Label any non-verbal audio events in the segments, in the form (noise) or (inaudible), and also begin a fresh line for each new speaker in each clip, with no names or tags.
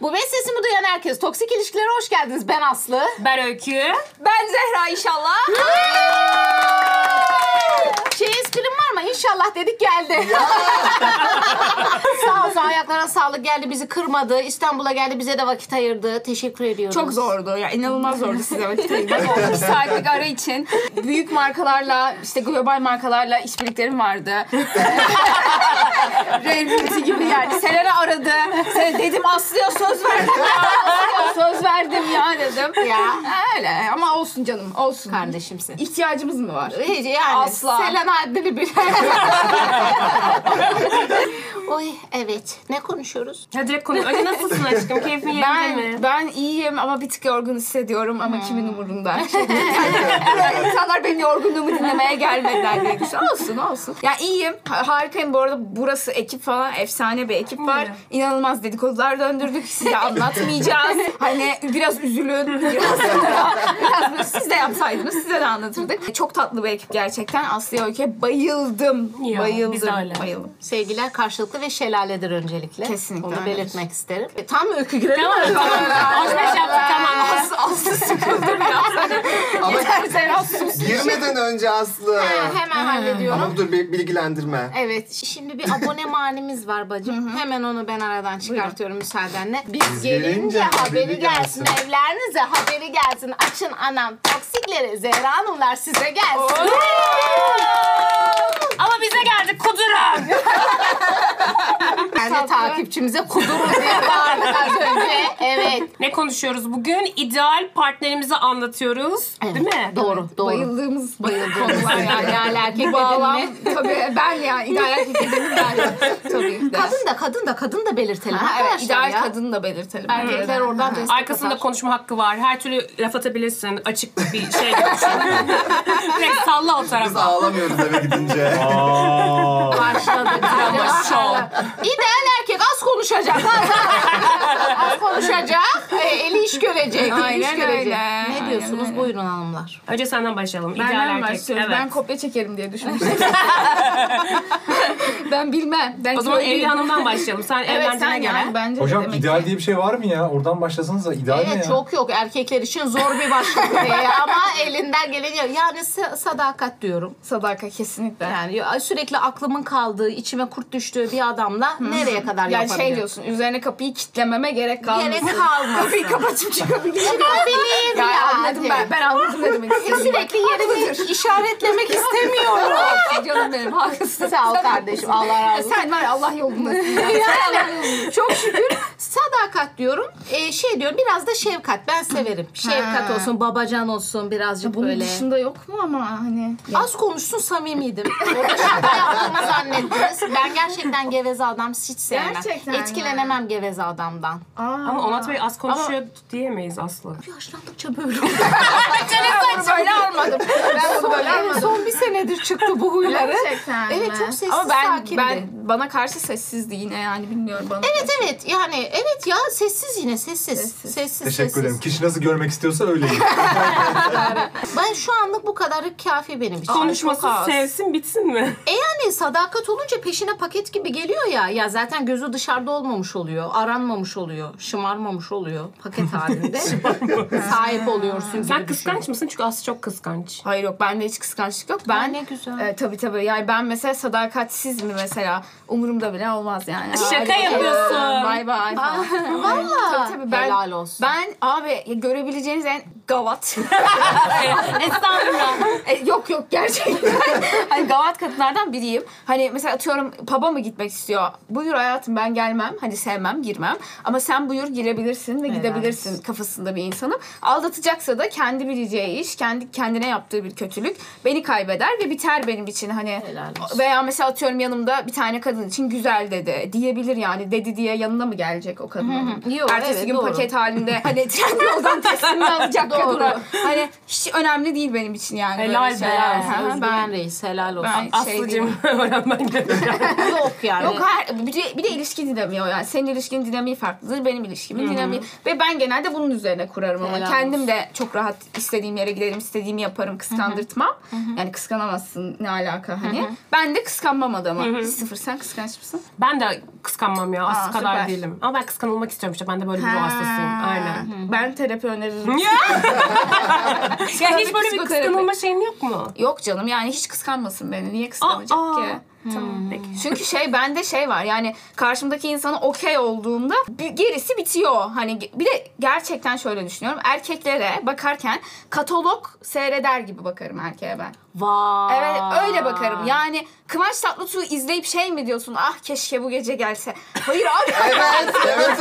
Bu beş sesimi duyan herkes. Toksik ilişkilere hoş geldiniz. Ben Aslı.
Ben Öykü.
Ben Zehra inşallah.
Şey esprim var mı? İnşallah dedik geldi. Sağ olsun ayaklara sağlık geldi bizi kırmadı. İstanbul'a geldi bize de vakit ayırdı. Teşekkür ediyoruz.
Çok zordu. Ya inanılmaz zordu size (laughs) vakit ayırmak. 30 saatlik ara için büyük markalarla, işte global markalarla işbirliklerim vardı. (laughs) Rare Beauty gibi yani. Selena aradı. Sen dedim Aslı'ya söz verdim ya. Aslı'ya söz verdim ya dedim.
Ya.
Öyle ama olsun canım olsun.
Kardeşimsin.
İhtiyacımız mı var?
Hiç yani.
Asla.
Selena adlı bir. Oy evet. Ne konuşuyoruz?
Ya direkt konu. Öyle nasılsın aşkım? Keyfin yerinde mi?
Ben, ben iyiyim ama bir tık yorgun hissediyorum ama kimin umurunda? İnsanlar benim yorgunluğumu dinlemeye gelmediler diye düşünüyorum. Olsun olsun. Ya iyiyim. ha- Harikayım bu arada. Burası ekip falan efsane bir ekip var. İnanılmaz dedikodular döndürdük. Size anlatmayacağız. Hani biraz üzülün. Biraz, (laughs) biraz böyle siz de yapsaydınız size de anlatırdık. Çok tatlı bir ekip gerçekten. Aslıya Öykü'ye bayıldım.
Ya,
bayıldım.
biz de öyle.
Bayıldım.
Sevgiler karşılıklı ve şelaledir öncelikle.
Kesinlikle
Onu
öyledir.
belirtmek isterim. E, tam öykü girelim
Tamam
mi?
tamam. Alışveriş yaptık tamam.
Aslı, Aslı sıkıldı biraz.
Ama
Yeter Zehra sus.
girmeden önce Aslı.
Ha, hemen hallediyorum.
Ama dur bir bilgilendirme.
Ee, Evet. Şimdi bir abone manimiz var bacım. Hemen onu ben aradan çıkartıyorum müsaadenle. Biz, gelince, haberi gelsin. Evlerinize haberi gelsin. Açın anam toksikleri. Zehra Hanımlar size gelsin.
Ama bize geldi kuduran.
Ben de takipçimize kudurun diye bağırdık az önce. Evet.
ne konuşuyoruz bugün? İdeal partnerimizi anlatıyoruz. Değil mi?
Doğru. Doğru.
Bayıldığımız
Bayıldığımız yani. Yani erkek
Bu
dedin
bağlam
mi?
tabii ben ya ideal erkek dedim ben tabii. ki de.
Kadın da kadın da kadın da belirtelim
Ha, evet,
arkadaşlar
ideal
ya.
kadını da belirtelim.
Erkekler oradan destek
Arkasında
atar.
konuşma hakkı var. Her türlü laf atabilirsin. Açık bir şey yok. Direkt salla o
Biz
tarafa.
ağlamıyoruz eve gidince.
(laughs)
Başladı drama show.
İdeal erkek az konuşacak. Az, (laughs) az. az konuşacak. e, eli iş görecek. eli iş
Aynen
görecek.
öyle,
Ne
aynen
diyorsunuz?
öyle.
Buyurun hanımlar.
Önce senden başlayalım. İdeal
Benden
erkek.
başlıyoruz.
Evet.
Ben kopya çekerim diye düşünmüştüm. ben bilmem. Ben
o zaman
köylüyüm.
Evli Hanım'dan başlayalım. Sen
Evet sen
evlendiğine göre.
yani bence de
Hocam
demek
ideal
ki.
diye bir şey var mı ya? Oradan başlasanız da ideal mi ya?
Evet çok yok erkekler için zor bir başlık diye (laughs) ama elinden geliyor. Yani sa- sadakat diyorum.
Sadaka kesinlikle. Yani,
Yani ya- sürekli aklımın kaldığı, içime kurt düştüğü bir adamla nereye kadar
şey
yapabilirim?
diyorsun üzerine kapıyı kitlememe gerek kalmasın.
Gerek kalmaz.
Kapıyı kapatıp çıkabilirim.
Çıkabilir
ya,
ya.
anladım ben. Ben anladım ne demek istediğini.
Sürekli yerimi işaretlemek (laughs) istemiyorum.
Canım benim haklısın.
Sağ ol kardeşim. Allah razı olsun.
Sen var ya, Allah
(laughs)
yolunda.
Yani çok şükür sadakat diyorum. Ee, şey diyorum biraz da şefkat. Ben severim. Şefkat
Ha.
olsun, babacan olsun birazcık
Bunun
böyle.
dışında yok mu ama hani?
Az
(laughs)
konuşsun samimiydim. Orada şaka yaptığımı zannettiniz. Ben gerçekten geveze adam hiç sevmem.
Gerçekten mi?
Etkilenemem geveze adamdan.
Ama Onat Bey az konuşuyor diyemeyiz aslı.
Ah,
Yaşlandıkça böyle oldu.
ben bunu böyle almadım. Ben bunu böyle
Yani
almadım.
son bir senedir çıktı bu huyları.
Gerçekten
(laughs) Evet,
mi?
çok sessiz,
Ama ben,
sakindi.
ben bana karşı sessizdi yine yani bilmiyorum bana.
Evet evet yani evet ya sessiz yine sessiz. Sessiz
Sessiz.
sessiz.
Teşekkür ederim. Kişi nasıl görmek istiyorsa öyle.
(laughs) Ben şu anlık bu kadarı kafi benim için.
Konuşması
Çok az.
sevsin bitsin mi?
E yani sadakat olunca peşine paket gibi geliyor ya. Ya zaten gözü dışarıda olmamış oluyor. Aranmamış oluyor. Şımarmamış oluyor.
(laughs)
Paket halinde. Sahip oluyorsun gibi
Sen
düşün.
kıskanç mısın? Çünkü Aslı çok kıskanç.
Hayır yok bende hiç kıskançlık yok.
Ay,
Ben
ne güzel.
E, tabii tabii yani ben mesela sadakatsiz mi mesela umurumda bile olmaz yani.
Şaka
Hadi
yapıyorsun.
bakalım, Bay bay falan.
Valla.
Tabii tabii ben,
Helal olsun.
ben abi görebileceğiniz en gavat.
Estağfurullah.
E, yok yok gerçekten. (laughs) hani gavat kadınlardan biriyim. Hani mesela atıyorum pub'a mı gitmek istiyor? Buyur hayatım ben gelmem. Hani sevmem girmem. Ama sen buyur girebilirsin ve gidebilirsin kafasında bir insanım. Aldatacaksa da kendi bileceği iş. Kendi kendine yaptığı bir kötülük. Beni kaybeder ve biter benim için. Hani
Helal olsun.
veya mesela atıyorum yanımda bir tane kadın için güzel dedi. Diyebilir yani. Dedi diye yanına mı gelecek o kadın? onun?
Yok,
Ertesi
evet,
gün indirim
Doğru.
paket halinde hani tren yoldan teslim
(laughs)
alacak
Doğru.
kadar. Hani hiç önemli değil benim için yani. böyle
Helal be.
şeyler.
Ha,
Hı hı,
Özgüven
Ben
reis helal olsun.
Ben- (laughs) şey
Aslı'cım (laughs) öğrenmen gerekiyor.
Yok yani.
Yok her, bir, de, bir de ilişki dinamiği o yani. Senin ilişkin dinamiği farklıdır, benim ilişkimin dinamiği. Ve ben genelde bunun üzerine kurarım ama
Helal
kendim de çok rahat istediğim yere giderim, istediğimi yaparım, kıskandırtmam. Yani kıskanamazsın ne alaka hani. Ben de kıskanmam adamı. Sıfır sen kıskanç mısın?
Ben de kıskanmam ya. Aslı
Aa,
kadar
süper.
değilim. Ama ben kıskanılmak istiyorum işte. Ben de böyle bir ruh hastasıyım. Aynen.
(laughs) Ben terapi öneririm.
Ya! (laughs) ya hiç böyle bir
Psikoterapi.
kıskanılma şeyin yok mu?
Yok canım yani hiç kıskanmasın beni. Niye kıskanacak
Aa,
ki?
Tamam peki.
Çünkü şey bende şey var yani karşımdaki insana okey olduğumda bir- gerisi bitiyor. Hani ge- bir de gerçekten şöyle düşünüyorum. Erkeklere bakarken katalog seyreder gibi bakarım erkeğe ben.
Vay.
Evet öyle bakarım. Yani Kıvanç Tatlıtuğ'u izleyip şey mi diyorsun? Ah keşke bu gece gelse. Hayır abi.
Evet, evet.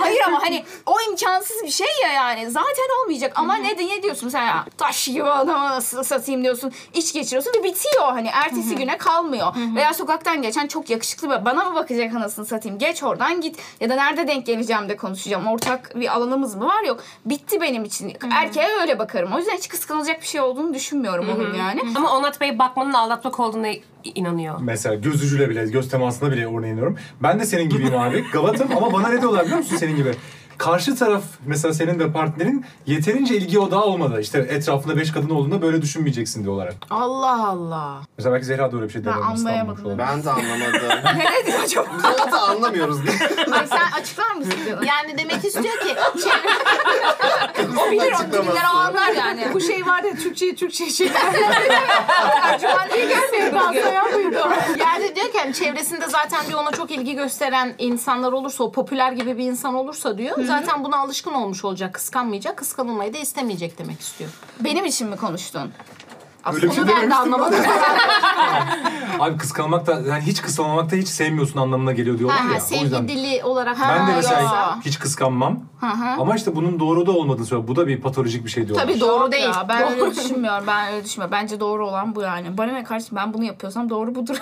Hayır ama hani o imkansız bir şey ya yani. Zaten olmayacak ama ne, ne diyorsun sen ya? Taş gibi adama nasıl satayım diyorsun. İç geçiriyorsun ve bitiyor hani. Ertesi güne kalmıyor. Veya sokaktan geçen çok yakışıklı bir bana mı bakacak anasını satayım? Geç oradan git. Ya da nerede denk geleceğim de konuşacağım. Ortak bir alanımız mı var yok. Bitti benim için. Erkeğe öyle bakarım. O yüzden hiç kıskanılacak bir şey olduğunu düşünmüyorum onun yani.
Ama Onat Bey bakmanın aldatmak olduğuna
(laughs)
inanıyor.
Mesela gözücüyle bile, göz temasında bile örneğiniyorum. Ben de senin gibiyim abi. Gavatım ama bana ne diyorlar biliyor musun senin gibi? Karşı taraf mesela senin ve partnerin yeterince ilgi odağı olmadı. İşte etrafında beş kadın olduğunda böyle düşünmeyeceksin diyorlar. hep.
Allah Allah.
Mesela belki Zehra da öyle bir şey demedi.
anlayamadım.
Ben de anlamadım.
(laughs) Ne dedi acaba?
Biz onu da anlamıyoruz. (laughs)
Ay, sen açıklar mısın? canım?
Yani demek istiyor ki çevre
O bilir o
Açıklaması.
bilir o anlar yani. Bu şey var ya Türkçe'ye Türkçe
(laughs)
şey. Cumartesi gelmiyor
yani diyor ki hani çevresinde zaten diyor ona çok ilgi gösteren insanlar olursa o popüler gibi bir insan olursa diyor zaten buna alışkın olmuş olacak kıskanmayacak kıskanılmayı da istemeyecek demek istiyor.
Benim için mi konuştun?
Öyle bir şey
Bunu ben de
dememiştim ben.
anlamadım.
Abi kıskanmak da, yani hiç kıskanmamak da hiç sevmiyorsun anlamına geliyor diyorlar
Ha,
ya. O
sevgi
yüzden
dili olarak.
ben de
Ha,
mesela
yoksa-
hiç kıskanmam. Ama işte bunun doğru da olmadığını söylüyor. Bu da bir patolojik bir şey diyorlar.
Tabii doğru değil.
Ya, ben öyle düşünmüyorum. Ben öyle düşünmüyorum. Bence doğru olan bu yani. Bana ne kardeşim ben bunu yapıyorsam doğru budur.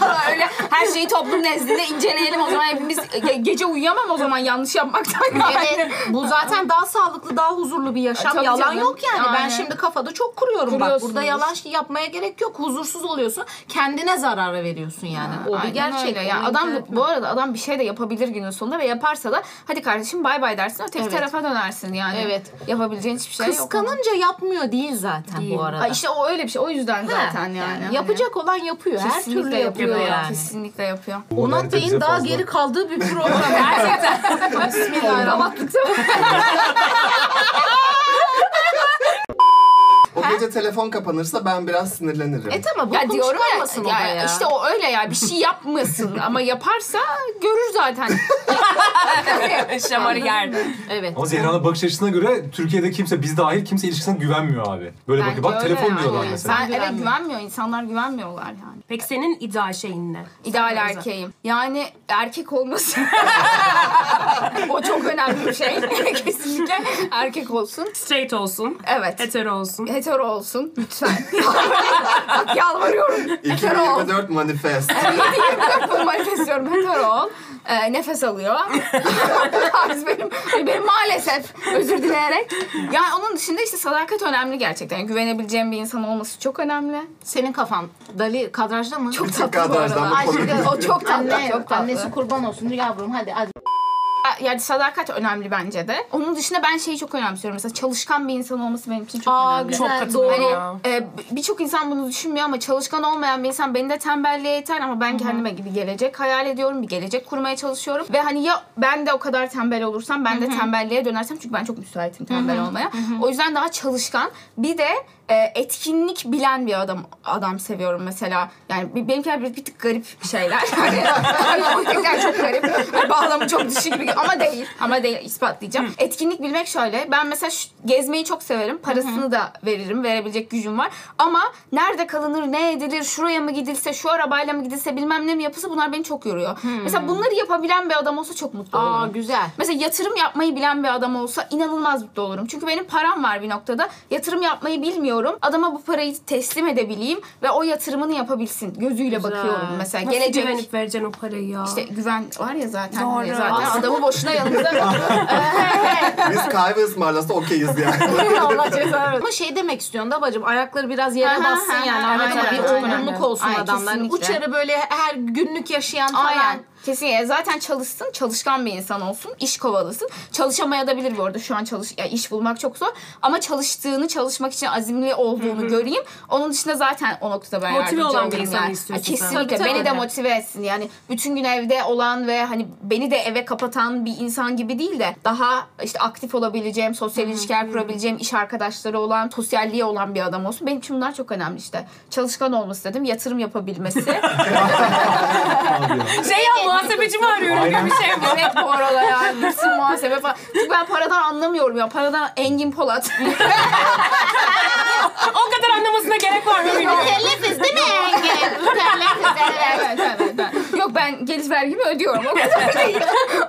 Valla öyle her şeyi toplum nezdinde inceleyelim o zaman hepimiz ge- gece uyuyamam o zaman yanlış yapmaktan. yani.
Evet, bu zaten daha sağlıklı, daha huzurlu bir yaşam.
Tabii
yalan
canım.
yok yani. Ben
Aynen.
şimdi kafada çok kuruyorum bak.
Kuruyorsunuz.
Burada yalan şey yapmaya gerek yok. Huzursuz oluyorsun. Kendine zarara veriyorsun yani. o bir
Aynen
gerçek.
öyle. Yani
Onu
adam
inkar etme.
bu arada adam bir şey de yapabilir günün sonunda ve yaparsa da hadi kardeşim bay bay dersin öteki
Evet.
tarafa dönersin yani.
Evet.
Yapabileceğin hiçbir şey yok.
kıskanınca yapmıyor değil zaten bu arada.
Ay işte o öyle bir şey. O yüzden
Ha,
zaten yani.
Yapacak olan yapıyor.
Hani
Her türlü yapıyor,
yapıyor
yani.
Kesinlikle yapıyor.
Bu
Onat
manevra bize
Bey'in daha
fazla.
geri kaldığı bir (laughs) program. Gerçekten. Bismillahirrahmanirrahim.
O gece telefon kapanırsa ben biraz sinirlenirim.
E tamam
(laughs)
bu
Ya diyorum
konuşulmasın
ya,
o da
ya
ya.
işte o öyle ya bir şey yapmasın ama yaparsa görür zaten.
Şamarı yerde.
Evet.
Ama Zehra'nın bakış açısına göre Türkiye'de kimse biz dahil kimse ilişkisine güvenmiyor abi. Böyle
Bence
bakıyor. Bak
öyle
telefon
yani.
diyorlar
Ben-
mesela.
evet güvenmiyor insanlar güvenmiyorlar yani.
Peki senin ideal şeyin ne?
İdeal erkeğim. Yani erkek (laughs) olması. o çok önemli bir şey. (laughs) Kesinlikle erkek olsun.
Straight olsun.
Evet.
Hetero olsun.
Hetero olsun lütfen. (laughs) Bak yalvarıyorum. Hetero ol.
2024 manifest.
Bunu manifestiyorum. Hetero ol. Ee, nefes (laughs) alıyor. Tarz benim, hani benim maalesef özür dileyerek. Yani onun dışında işte sadakat önemli gerçekten. Yani güvenebileceğim bir insan olması çok önemli.
Senin kafan. Dali kadrajda mı? Çok
tatlı bu arada. Kadrajdan
Ay
bu
şimdi
konu.
o çok tatlı.
Anne,
çok tatlı.
annesi
Annesi kurban olsun yavrum hadi hadi.
Yani sadakat önemli bence de. Onun dışında ben şeyi çok önemsiyorum. Mesela çalışkan bir insan olması benim için çok
Aa,
önemli.
güzel. Hani,
Çok
Ha,
katılıyorum
doğru.
ya.
Ee, birçok insan bunu düşünmüyor ama çalışkan olmayan bir insan beni de tembelliğe yeter ama ben kendime gibi gelecek hayal ediyorum. Bir gelecek kurmaya çalışıyorum. Ve hani ya ben de o kadar tembel olursam ben de tembelliğe dönersem çünkü ben çok müsaitim tembel olmaya. O yüzden daha çalışkan bir de e, etkinlik bilen bir adam adam seviyorum mesela. Yani bi- benimkiler bir, bir tık garip şeyler. (laughs) Hani, Yani, yani benimkiler çok garip. Yani bağlamı çok dışı gibi ama değil. Ama değil ispatlayacağım. Etkinlik bilmek şöyle. Ben mesela şu- gezmeyi çok severim. Parasını da veririm. Verebilecek gücüm var. Ama nerede kalınır, ne edilir, şuraya mı gidilse, şu arabayla mı gidilse bilmem ne mi yapılsa bunlar beni çok yoruyor. Mesela bunları yapabilen bir adam olsa çok mutlu olurum.
Aa
(laughs)
güzel. (laughs)
Mesela yatırım yapmayı bilen bir adam olsa inanılmaz mutlu olurum. Çünkü benim param var bir noktada. Yatırım yapmayı bilmiyorum bakmıyorum. Adama bu parayı teslim edebileyim ve o yatırımını yapabilsin gözüyle bakıyorum mesela.
Nasıl
Gelecek
güvenip vereceksin o parayı ya?
işte güven var ya zaten.
Doğru.
Hani Zaten adamı boşuna
(laughs)
yanımıza
Biz kahve ısmarlasa okeyiz
(laughs)
yani.
Allah cezanı versin. Ama şey demek istiyorsun da bacım ayakları biraz yere
Aha,
bassın
aha,
yani.
aynen,
Anlatma bir
aynen.
olgunluk olsun
Ay,
adamlar.
kesinlikle.
Uçarı böyle her günlük yaşayan falan.
Aynen. Kesinlikle. Zaten çalışsın, çalışkan bir insan olsun, iş kovalasın. Çalışamayabilir bu arada. Şu an çalış ya iş bulmak çok zor. Ama çalıştığını, çalışmak için azimli olduğunu göreyim. Onun dışında zaten o noktada ben
Motive
yardımcı
olan bir
olurum
insanı
yani.
istiyorsun sen.
Kesinlikle.
Tabii, tabii.
Beni de motive etsin. Yani bütün gün evde olan ve hani beni de eve kapatan bir insan gibi değil de daha işte aktif olabileceğim, sosyal ilişkiler kurabileceğim, iş arkadaşları olan, sosyalliği olan bir adam olsun. Benim için bunlar çok önemli işte. Çalışkan olması dedim, yatırım
(laughs)
yapabilmesi.
Abi ya.
Şey ya muhasebeci mi arıyorum?
Aynen.
Bir şey mi?
Evet bu aralar ya. Gitsin muhasebe falan. Çünkü ben paradan anlamıyorum ya. Paradan Engin Polat.
O kadar anlamasına gerek var
(laughs)
mı bilmiyorum.
Mükellefiz değil mi Engin? Mükellefiz evet.
(laughs) evet, evet, evet. Yok ben gelir vergimi ödüyorum. O kadar değil.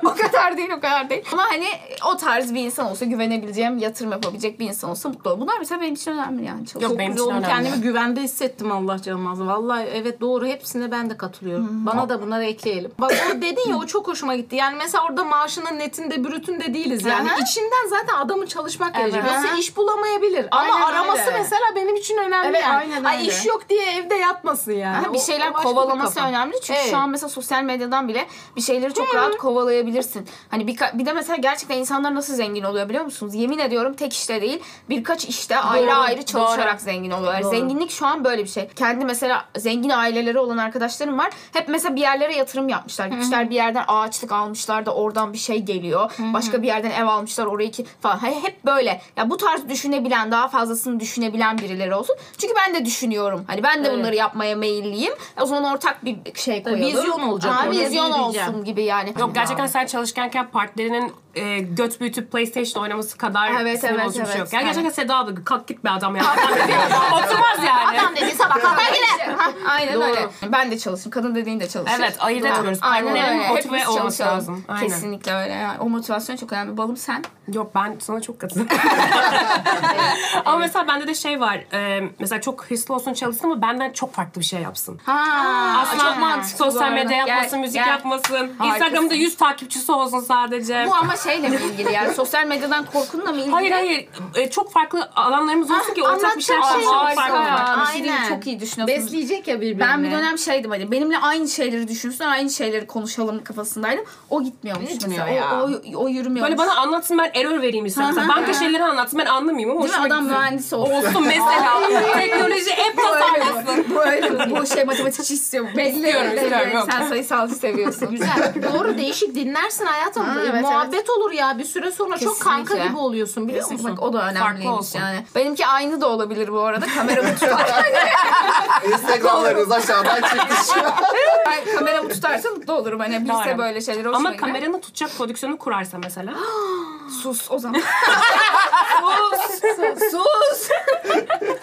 O kadar değil, o kadar değil. Ama hani o tarz bir insan olsa, güvenebileceğim, yatırım yapabilecek bir insan olsa mutlu olurum. Bunlar mesela benim için önemli yani. Çalışmak.
Yok, benim
Biz
için
oğlum
önemli.
kendimi güvende hissettim Allah canım ağzına. Vallahi evet doğru hepsine ben de katılıyorum. Bana da bunları ekleyelim. Bak o dedin ya o çok hoşuma gitti. Yani mesela orada maaşının netinde brütün de değiliz. Yani
Aha.
içinden zaten adamın çalışmak
Evet.
gelecek. Mesela
Aha.
iş bulamayabilir. Ama
Aynen
araması
öyle.
mesela benim için önemli
Evet,
yani.
aynen
Ay
öyle.
iş yok diye evde yatmasın yani.
Ha, bir
O-
şeyler
o başka bir
kovalaması
kafa.
önemli çünkü
Evet.
şu an mesela sosyal medyadan bile bir şeyleri çok rahat kovalayabilirsin. Hani bir, bir de mesela gerçekten insanlar nasıl zengin oluyor biliyor musunuz? Yemin ediyorum tek işte değil birkaç işte ayrı
Doğru,
ayrı çalışarak zengin oluyorlar.
Doğru.
Zenginlik şu an böyle bir şey. Kendi mesela zengin aileleri olan arkadaşlarım var. Hep mesela bir yerlere yatırım yapmışlar. Gitmişler bir yerden ağaçlık almışlar da oradan bir şey geliyor. Başka bir yerden ev almışlar orayı ki falan. Hani hep böyle. Ya bu tarz düşünebilen daha fazlasını düşünebilen birileri olsun. Çünkü ben de düşünüyorum. Hani ben de
Evet.
bunları yapmaya meyilliyim. O zaman ortak bir şey
Tabii,
koyalım.
vizyon olacak
Aa,
orada,
vizyon
bunu diyeceğim.
olsun gibi yani.
Yok gerçekten sen çalışkenken partnerinin e, göt büyütüp PlayStation oynaması kadar
Evet,
sinir
evet,
bozucu bir şey
evet.
yok. Yani gerçekten
Evet.
Seda abla kalk git be adam ya. Adam dedi, (laughs) Oturmaz yani.
şey-
Adam dedi sabah kalkar
(laughs)
gider.
Ha, Aynen
Doğru.
öyle. Ben de çalışayım. Kadın dediğin de çalışır.
Evet, ayırt
Doğru.
etmiyoruz.
Aynen
Partnerin
öyle.
motive
Hepimiz
olması
çalışalım.
lazım. Aynen.
Kesinlikle öyle. Yani o motivasyon çok önemli. Balım sen.
Yok ben sana
(laughs)
çok katılıyorum. ama mesela bende de şey var. e, mesela çok hırslı olsun çalışsın ama benden çok farklı bir şey yapsın.
Ha,
Aslında
çok mantıklı. bu
Sosyal
arada.
medya yapmasın,
Gel,
müzik
gel.
yapmasın.
Harikasın.
Instagram'da 100 takipçisi olsun sadece.
Bu ama şeyle mi ilgili yani? Sosyal medyadan korkunla mı ilgili?
Hayır hayır. E, çok farklı alanlarımız olsun ki ortak bir şey
anlatacak
yapalım.
şey
Çok
olsun.
farklı.
Harika. Bir şey değil mi?
Aynen.
Çok iyi düşünüyorsunuz.
Besleyecek ya birbirini.
Ben bir dönem şeydim hani benimle aynı şeyleri düşünsün, aynı şeyleri konuşalım kafasındaydım. O gitmiyormuş
Gitmiyor
mesela.
ya.
O, o, o yürümüyormuş.
Böyle bana anlatsın ben error vereyim istiyorum. Mesela banka şeyleri anlatsın ben anlamayayım ama
Değil mi?
hoşuma
adam
gitsin.
mühendis olsun.
Olsun (laughs) mesela. Teknoloji app tasarlasın.
bu öyle bu şey matematikçi istiyorum. Belli.
İstiyorum,
belli.
istiyorum, yok.
Sen sayısalcı seviyorsun.
Güzel. Doğru değişik dinlersin hayatım. E,
Ha, evet,
Muhabbet olur ya bir süre sonra çok
Kesinlikle.
kanka gibi oluyorsun biliyor musun?
Bak o da önemliymiş
olsun.
yani. Benimki aynı da olabilir bu arada. Kameramı (laughs) tutar.
Instagramlarınız aşağıdan çıktı şu an.
Ben kameramı tutarsa mutlu olurum. Hani bilse
Doğru.
böyle şeyler hoşuma
Ama
gider.
kameranı tutacak prodüksiyonu kurarsa
(gasps)
mesela.
Sus o zaman.
Sus. Sus.
(laughs)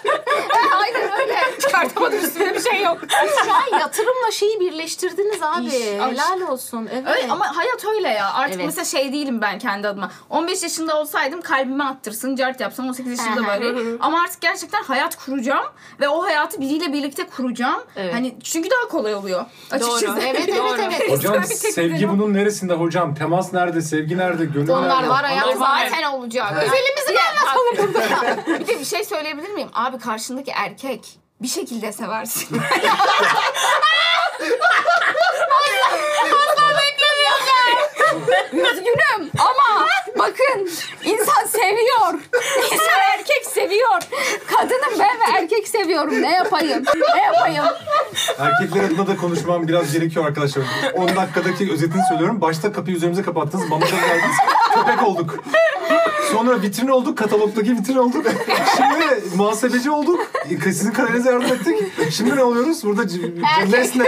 Aynen öyle. Çıkartamadım üstüne bir şey yok.
Şu an yatırımla şeyi birleştirdiniz abi.
İş,
Helal olsun. Evet.
Öyle, ama hayat öyle ya. Artık
Evet.
mesela şey değilim ben kendi adıma. 15 yaşında olsaydım kalbime attırsın, cart yapsam 18 yaşında (laughs)
Aha.
böyle. Ama artık gerçekten hayat kuracağım ve o hayatı biriyle birlikte kuracağım.
Evet.
Hani çünkü daha kolay oluyor. Açıkçası. (laughs)
Evet evet evet.
Hocam
bir tek
sevgi
güzel
bunun neresinde hocam? Temas nerede? Sevgi nerede? Gönül
Onlar
nerede?
var hayatım.
Hayat
var.
zaten olacak.
Özelimizi mi
(laughs)
anlatalım burada?
Bir de bir şey söyleyebilir miyim? Abi karşındaki erkek bir şekilde seversin. Üzgünüm ama bakın insan seviyor. İnsan erkek seviyor. Kadınım ben ve erkek seviyorum. Ne yapayım? Ne yapayım?
Erkekler adına da konuşmam biraz gerekiyor arkadaşlar. 10 dakikadaki özetini söylüyorum. Başta kapıyı üzerimize kapattınız. Bana da geldiniz. Köpek olduk. Sonra vitrin olduk. Katalogdaki vitrin olduk. Şimdi muhasebeci olduk. Sizin kararınıza yardım ettik. Şimdi ne oluyoruz? Burada c- c- nesne.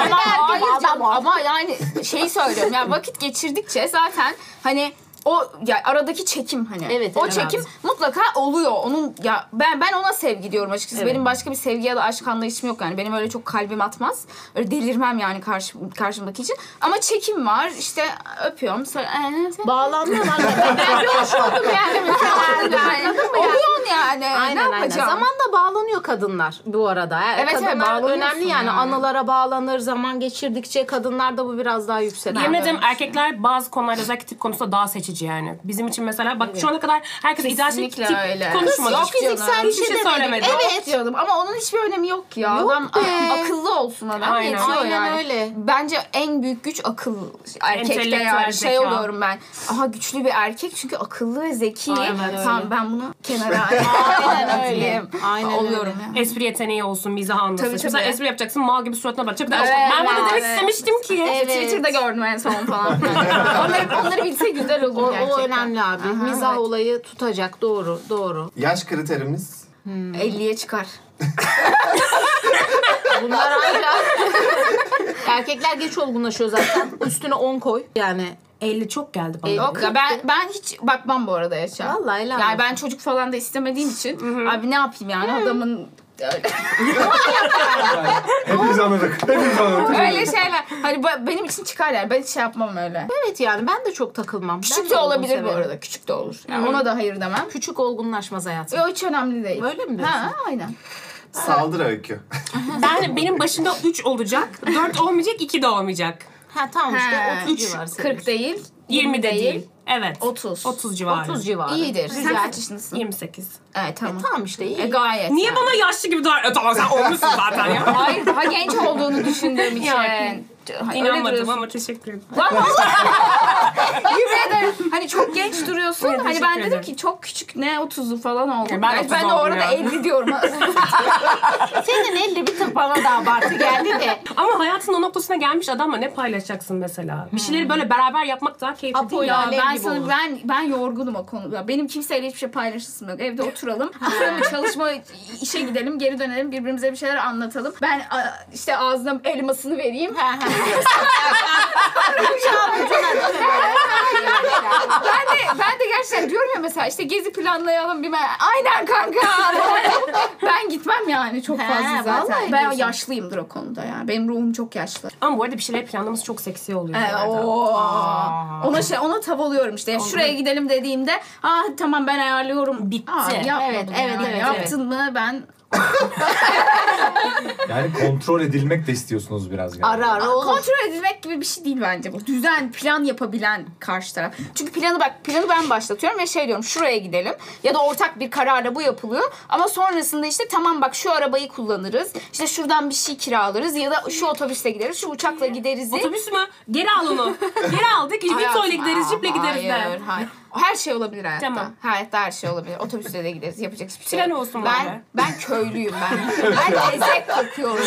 Ama, hayır
adam
canım, ama yani şey söylüyorum. Yani vakit geçirdikçe zaten hani o ya aradaki çekim hani.
Evet,
o
evet.
çekim mutlaka oluyor. Onun ya ben ben ona sevgi diyorum açıkçası.
Evet.
Benim başka bir sevgi ya da aşk anlayışım yok yani. Benim öyle çok kalbim atmaz. Öyle delirmem yani karşı karşımdaki için. Ama çekim var. işte öpüyorum. Sonra "Ee,
Bağlanma var. Ben- ben yok.
oldum yani. Mükemmel yani. Oluyorsun yani. ne
(laughs) Aynen aynen.
yapacağım?
Zamanla bağlanıyor kadınlar bu arada. Yani
Evet, evet,
kadınlar
bağlanıyorsun
önemli yani.
yani.
Anılara bağlanır. Zaman geçirdikçe kadınlarda bu biraz daha yükselir.
Yemin ederim erkekler bazı konularda özellikle tip konusunda daha seçici yani. Bizim için mesela bak şu ana kadar herkes ideal şey
Kesinlikle
tip
öyle.
konuşmadı.
Yok,
fiziksel bir
Hiçbir
şey
şey
demedik.
söylemedi.
Evet.
diyordum ama onun hiçbir önemi yok ya.
Yok
Adam
be.
a- (laughs) akıllı olsun adam
Aynen.
yetiyor
Aynen
yani.
öyle.
Bence en büyük güç akıl erkekte
Entelektüel
yani şey
zeka.
oluyorum ben. Aha güçlü bir erkek çünkü akıllı ve zeki.
Aynen öyle.
Tamam ben bunu
(laughs)
kenara
Aynen öyle.
atayım.
Aynen
oluyorum
öyle.
yani.
Espri yeteneği olsun, mizah anlasın.
Tabii,
Mesela
tabii.
espri yapacaksın, mal gibi suratına bakacak. Bir de
Evet,
ben bunu
evet.
demek istemiştim ki.
Evet.
Twitter'da gördüm en son falan.
(laughs)
onları, onları bilse güzel olur
O, o
gerçekten.
önemli abi. Mizah
evet.
olayı tutacak. Doğru. Doğru.
Yaş kriterimiz
50'ye çıkar.
Bunlar (laughs) ancak erkekler geç olgunlaşıyor zaten. Üstüne 10 koy. Yani
50 çok geldi bana.
Yok ya ben ben hiç bakmam bu arada yaşa.
Vallahi helal
Yani
olsun.
ben çocuk falan da istemediğim için abi ne yapayım yani adamın
Hepimiz anladık. Hepimiz
(laughs)
anladık.
öyle şeyler. Hani ba- benim için çıkar yani. Ben hiç şey yapmam öyle.
evet yani ben de çok takılmam. Ben
Küçük
de
de
olgun
olabilir bu
severim.
arada. Küçük de olur. Yani ona da hayır demem.
Küçük olgunlaşmaz hayatım.
Yok hiç önemli değil.
Öyle mi diyorsun?
Ha aynen.
saldır öykü.
Ben benim başımda 3 olacak, 4 olmayacak, 2 de olmayacak.
Ha tamam işte
Ha.
30 civarı. senin.
40 değil.
20 de değil. Evet.
30.
30 civarı.
30 civarı.
İyidir. Sen
Güzel.
kaç yaşındasın?
28.
Evet tamam.
Tamam işte iyi.
E, gayet.
Niye
yani.
bana yaşlı gibi dar... E, tamam sen olmuşsun zaten ya.
Hayır daha genç olduğunu
(laughs)
düşündüğüm için.
Yani,
Hayır, öyle
İnanmadım
duruyorsun.
ama teşekkür ederim. (laughs)
Lan vallahi. Yemin ederim. Hani çok genç duruyorsun.
Evet,
hani ben
teşekkür
dedim
ederim.
ki çok küçük ne 30'u falan oldu.
Ya ben
Ben, ben,
30
de
oldum
orada
ya.
50
(laughs)
diyorum.
Senin elde bir tık bana da abartı geldi de.
Ama hayatın o noktasına gelmiş adamla ne paylaşacaksın mesela? Bir şeyleri böyle beraber yapmak daha keyifli
Apo
değil
ya.
ya.
Ya
Alev
ben
gibi
sana
olur.
ben ben yorgunum o konuda. Benim kimseyle hiçbir şey paylaşısım yok. Evde
(laughs)
oturalım. Oturalım çalışma işe gidelim, geri dönelim, birbirimize bir şeyler anlatalım. Ben a- işte ağzına elmasını
(laughs)
vereyim. (laughs) ben de ben de gerçekten diyorum ya mesela işte gezi planlayalım bir ben. Aynen
(laughs)
kanka. ben gitmem yani çok
Ha,
fazla
vallahi
zaten. Ben
diyorsun.
yaşlıyımdır o konuda yani. Benim ruhum çok yaşlı.
Ama bu arada bir şeyler planlaması çok seksi oluyor. bu
Ee,
arada.
oo. Ona şey ona tav oluyorum işte. Şuraya gidelim dediğimde, "Ah tamam ben ayarlıyorum."
Bitti.
Aa, yapmadım
Evet,
ya.
evet, evet,
Yaptın mı ben
Yani kontrol edilmek de istiyorsunuz biraz. galiba.
Ara ara oğlum.
kontrol edilmek gibi bir şey değil bence bu. Düzen, plan yapabilen karşı taraf. Çünkü planı bak, planı ben başlatıyorum ve şey diyorum şuraya gidelim ya da ortak bir kararla bu yapılıyor. Ama sonrasında işte tamam bak şu arabayı kullanırız. işte şuradan bir şey kiralarız ya da şu otobüsle gideriz, şu uçakla gideriz. diye.
Otobüs mü? Geri al onu. Geri aldık. İlbito ile gideriz, jiple gideriz
Hayır,
de.
hayır. Her şey olabilir hayatta.
Tamam.
Hayatta her şey olabilir. Otobüste de gideriz. Yapacak hiçbir şey
Tren
yok.
olsun
ben,
bari.
Ben köylüyüm ben. Ben tezek kokuyorum.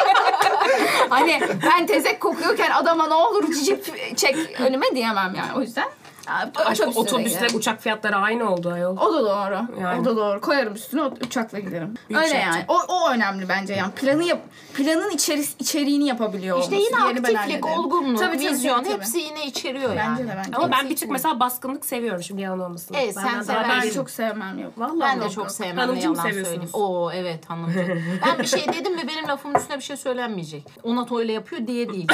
(laughs) hani ben tezek kokuyorken adama ne olur cicip çek önüme diyemem yani. O yüzden aa,
Aşk
otobüste de
otobüsle
giderim.
uçak fiyatları aynı oldu ayol.
O da doğru.
Yani.
O da doğru. Koyarım üstüne ot- uçakla giderim.
Büyük
Öyle
şey
yani. O, o önemli bence yani. Planı yap, planın içeri, içeriğini yapabiliyor
İşte
olması.
yine
Diğerini ben
aktiflik,
hallederim.
olgunluk,
Tabii, tabii,
vizyon
tabii.
hepsi yine içeriyor
Bence
yani.
de bence.
Ama
de.
ben bir tık mesela baskınlık seviyorum şimdi yalan olmasın.
Evet, sen
Benden daha
sever-
Ben
belli-
çok sevmem yok.
Vallahi
Ben de
yok.
çok sevmem ne
Hanımcı mı
yalan söyleyeyim.
seviyorsunuz?
Oo evet hanımcı.
(laughs)
ben bir şey dedim mi benim lafımın üstüne bir şey söylenmeyecek. Ona öyle yapıyor
(laughs)
diye değil.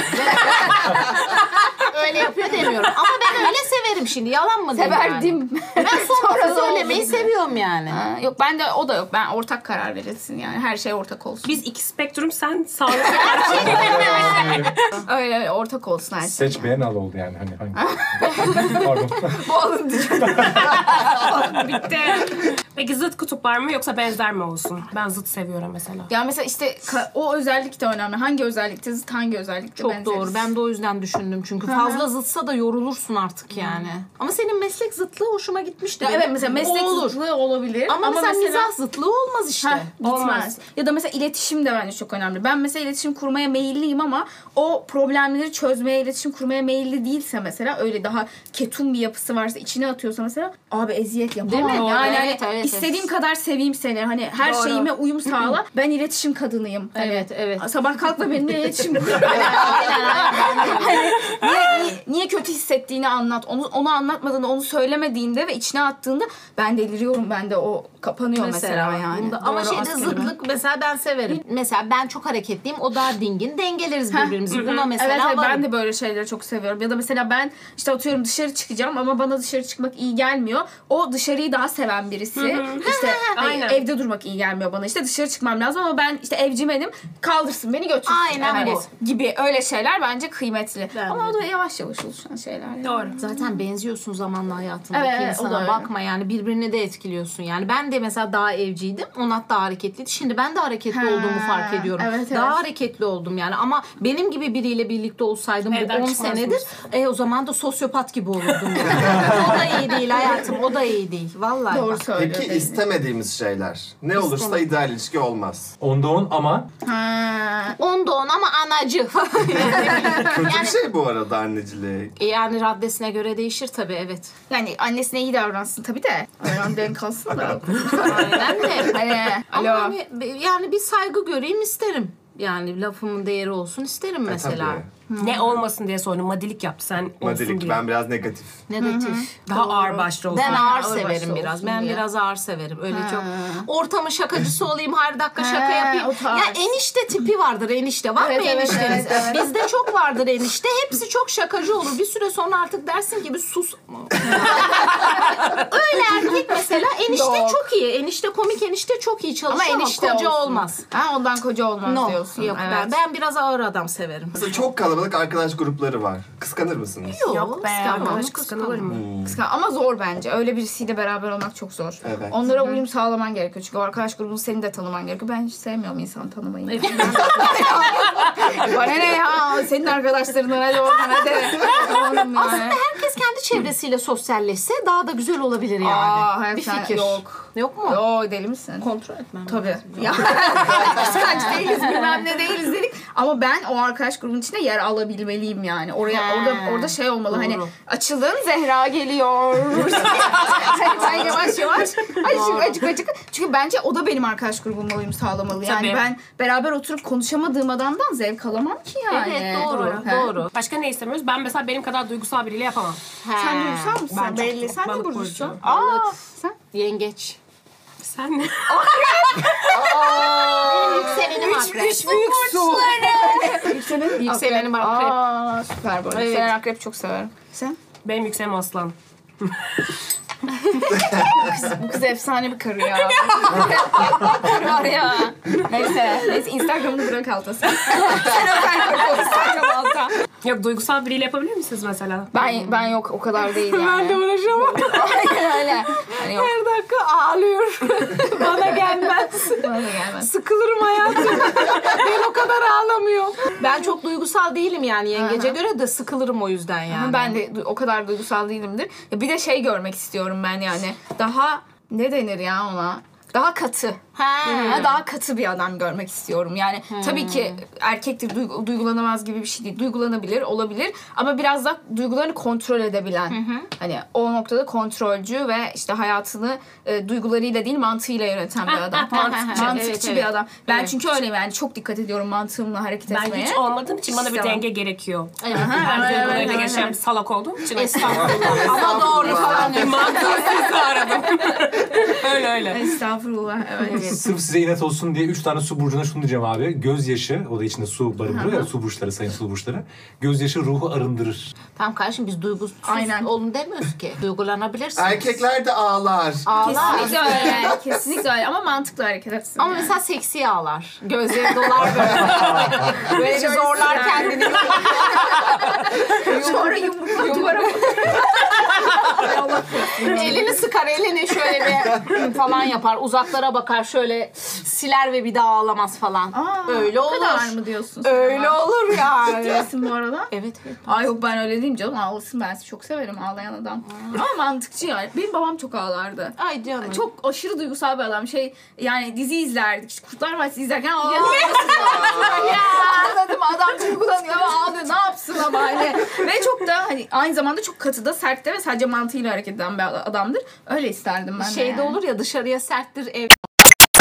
öyle yapıyor demiyorum. Ama ben öyle severim şimdi. Yalan mı diyeyim yani?
Severdim. (laughs)
Ben son lafı
Sonra da
söylemeyi
oldu.
seviyorum yani.
Ha, yok ben de o da yok. Ben ortak karar verilsin yani. Her şey ortak olsun.
Biz iki spektrum sen sağlık.
Öyle öyle ortak olsun her şey.
Seçmeyen al oldu yani. Hani, hangi? Pardon. (laughs)
Bu alın diyor.
Bitti. Peki zıt kutup var mı yoksa benzer mi olsun? Ben zıt seviyorum mesela.
Ya mesela işte ka- o özellik de önemli. Hangi özellikte zıt, hangi özellikte
Çok
benzeriz?
doğru. Ben de o yüzden düşündüm. Çünkü fazla zıtsa da yorulursun artık yani. Ama senin meslek zıtlığı hoşuma gitmişti.
Ya
benim.
evet mesela meslek
O olur.
zıtlığı olabilir.
Ama, mesela, mizah zıtlığı olmaz işte.
Heh, gitmez.
Olmaz.
Ya da mesela iletişim de bence çok önemli. Ben mesela iletişim kurmaya meyilliyim ama o problemleri çözmeye, iletişim kurmaya meyilli değilse mesela öyle daha ketum bir yapısı varsa, içine atıyorsa mesela abi eziyet yapamam.
Değil mi?
Yani
Doğru,
hani
evet, evet,
istediğim kadar seveyim seni. Hani her
Doğru.
şeyime uyum
(clears throat)
sağla. Ben iletişim kadınıyım. Hani
Evet,
(laughs)
evet.
Sabah kalk da benimle iletişim kur.
Aynen, aynen.
Hani niye, niye kötü hissettiğini anlat. Onu onu anlatmadan onu söylemediğinde ve içine attığında ben deliriyorum ben de o kapanıyor mesela, yani.
Bunda- ama şey
Doğru,
şeyde
aslında.
zıtlık mesela ben severim. Mesela ben çok hareketliyim o daha dingin dengeleriz birbirimizi. Buna mesela
Evet, evet,
varım.
ben de böyle şeyleri çok seviyorum. Ya da mesela ben işte atıyorum dışarı çıkacağım ama bana dışarı çıkmak iyi gelmiyor. O dışarıyı daha seven birisi. işte hani
Aynen.
evde durmak iyi gelmiyor bana. İşte dışarı çıkmam lazım ama ben işte evcimenim. Kaldırsın beni götürsün.
Aynen
Hani
bu.
Gibi öyle şeyler bence kıymetli.
Ben
ama o da yavaş yavaş oluşan şeyler. yani.
Doğru.
Zaten benziyorsun zamanla hayatındaki
Evet, evet, o da
insana.
öyle.
Bakma yani birbirini de etkiliyorsun. Yani ben de mesela daha evciydim. Onat daha hareketliydi. Şimdi ben de hareketli
Ha,
olduğumu fark ediyorum.
evet,
Daha
evet.
hareketli oldum yani. Ama benim gibi biriyle birlikte olsaydım
Evden
bu 10
çıkmazdınız.
senedir e, o zaman da sosyopat gibi olurdum. yani. o da iyi değil hayatım. O da iyi değil. Vallahi.
Doğru
bak.
söylüyor.
Peki istemediğimiz şeyler. Ne olursa
İstemem.
ideal
(laughs)
ilişki olmaz.
Onda on ama
Ha.
Onda on ama anacı. (laughs)
Kötü bir şey bu arada annecilik. E,
yani raddesine göre değişir tabii evet.
Yani annesine iyi davransın tabii de. Aynen denk kalsın da.
Aynen de.
Ee,
Ama
Alo.
hani be- yani bir saygı göreyim isterim. Yani lafımın değeri olsun isterim mesela.
E, Tabii.
Ne olmasın diye sordum. Madilik yaptı sen olsun
Madilik
diye.
ben biraz negatif.
Negatif.
Daha ağır başlı olsun.
Ben ağır
ağır
severim
başlı
biraz.
olsun
Ben
diye.
biraz ağır severim. Öyle çok ortamın şakacısı olayım her dakika şaka
Ha,
yapayım.
o tarz.
Ya enişte tipi vardır enişte. Var
Evet,
mı
evet,
enişteniz?
evet, evet.
Bizde çok vardır enişte. Hepsi çok şakacı olur. Bir süre sonra artık dersin gibi sus. Öyle
(laughs)
erkek mesela enişte
Yok.
çok iyi. Enişte komik enişte çok iyi
Ama
çalışıyor ama,
enişte
koca
olsun.
olmaz.
Ha ondan koca olmaz
No.
diyorsun.
Yok
evet.
ben, ben biraz ağır adam severim.
Mesela çok kalabalık arkadaş grupları var. Kıskanır mısınız?
Yok be arkadaş kıskanılır mı?
Kıskan- Ama zor bence. Öyle birisiyle beraber olmak çok zor.
Evet.
Onlara uyum sağlaman gerekiyor. Çünkü o arkadaş grubunu senin de tanıman gerekiyor. Ben hiç sevmiyorum insanı tanımayı. (laughs) Bana ne ya? Senin arkadaşlarından hadi oradan hadi. Oğlum ya.
Aslında herkes kendi çevresiyle sosyalleşse daha da güzel olabilir yani.
Aa, hayır,
bir
sen-
fikir.
yok.
Yok mu?
Yo deli misin? Kontrol etmem. Tabii. Ya (laughs) kıskanç değiliz bilmem ne değiliz dedik. Ama ben o arkadaş grubunun içinde yer alabilmeliyim yani. Oraya
Ha,
orada orada şey olmalı hani
doğru.
açılın Zehra
(laughs)
geliyor. Sen yavaş yavaş. Acık acık acık. Çünkü bence o da benim arkadaş grubumla uyum sağlamalı. Yani
Tabii.
ben beraber oturup konuşamadığım adamdan zevk alamam ki yani.
Evet doğru
He.
doğru.
Başka ne istemiyoruz? Ben mesela benim kadar duygusal biriyle yapamam.
Sen
He.
duygusal mısın?
Ben çok-
Belli. Sen
balık
de burcusun.
burcu.
Aa, sen.
Yengeç.
Sen (laughs) ne?
Yükselenim akrep.
büyük su.
Yükselenin
Yükselenim akrep.
Aa, süper bu. arada. Yükselen akrep çok severim. Sen?
Benim yükselen aslan.
Bu kız efsane bir karı (laughs) ya. karı var ya. Neyse. Neyse Instagram'ını bırak alta sen. sen özel bırak o Instagram alta.
Yok duygusal biriyle yapabilir misiniz mesela?
Ben, ben yok o kadar değil yani. ben de
uğraşamam. (laughs)
Aynen (laughs) öyle. Hani yok.
Her dakika ağlıyor. Bana gelmez.
Bana da gelmez.
Sıkılırım (laughs) hayatım. ben o kadar ağlamıyorum. Ben çok duygusal değilim yani yengece göre de sıkılırım o yüzden yani.
Ben de du- o kadar duygusal değilimdir. Ya bir de şey görmek istiyorum ben yani. Daha ne denir ya ona? Daha katı.
He.
Ha, daha katı bir adam görmek istiyorum. Yani tabii ki erkektir duygu- duygulanamaz gibi bir şey değil. Duygulanabilir, olabilir ama biraz da duygularını kontrol edebilen. Hani o noktada kontrolcü ve işte hayatını e, duygularıyla değil mantığıyla yöneten bir adam.
mantıkçı.
Mantıkçı
Evet,
bir
evet.
adam. Ben çünkü öyleyim yani çok dikkat ediyorum mantığımla hareket
Ben
etmeye.
hiç olmadığım için bana bir
İstemem.
denge gerekiyor.
Evet.
Ben
evet,
duygularıyla
evet,
yaşayan
evet.
bir salak olduğum için. (laughs)
Estağfurullah. Ama doğru. sanıyorum.
Mantığı sizi aradım. (laughs) öyle öyle.
Estağfurullah. Evet.
(laughs) sırf size inat olsun diye 3 tane su burcuna şunu diyeceğim abi. Gözyaşı, o da içinde su barındırıyor ya su burçları, sayın su burçları. Gözyaşı ruhu arındırır.
Tamam kardeşim biz duygusuz
Aynen.
olun demiyoruz ki. Duygulanabilirsiniz.
Erkekler de ağlar.
Ağlar.
Kesinlikle (laughs) öyle. Kesinlikle öyle ama mantıklı hareket etsin.
Ama mesela seksi ağlar. Gözleri dolar (laughs) böyle. böyle bir zorlar kendini. (laughs)
Sonra yumrukla duvara
elini sıkar elini şöyle (laughs) bir falan yapar. Uzaklara bakar şöyle siler ve bir daha ağlamaz falan.
Aa,
Öyle
o
olur.
kadar mı diyorsun? sen
Öyle
ama?
olur yani.
Diyorsun bu arada.
(laughs) evet evet.
Ay yok ben öyle değilim canım ağlasın ben çok severim ağlayan adam. Ama mantıkçı yani. Benim babam çok ağlardı.
Ay canım. Çok
Çok aşırı duygusal bir adam. Şey yani dizi izlerdik. İşte Kurtlar Vadisi izlerken ağlıyor. (laughs) Anladım adam duygulanıyor ve ağlıyor. Ne yapsın ama hani. Ve çok da hani aynı zamanda çok katı da sert de ve sadece mantığıyla hareket eden bir adamdır. Öyle isterdim ben de
şeyde
yani.
olur ya dışarıya serttir ev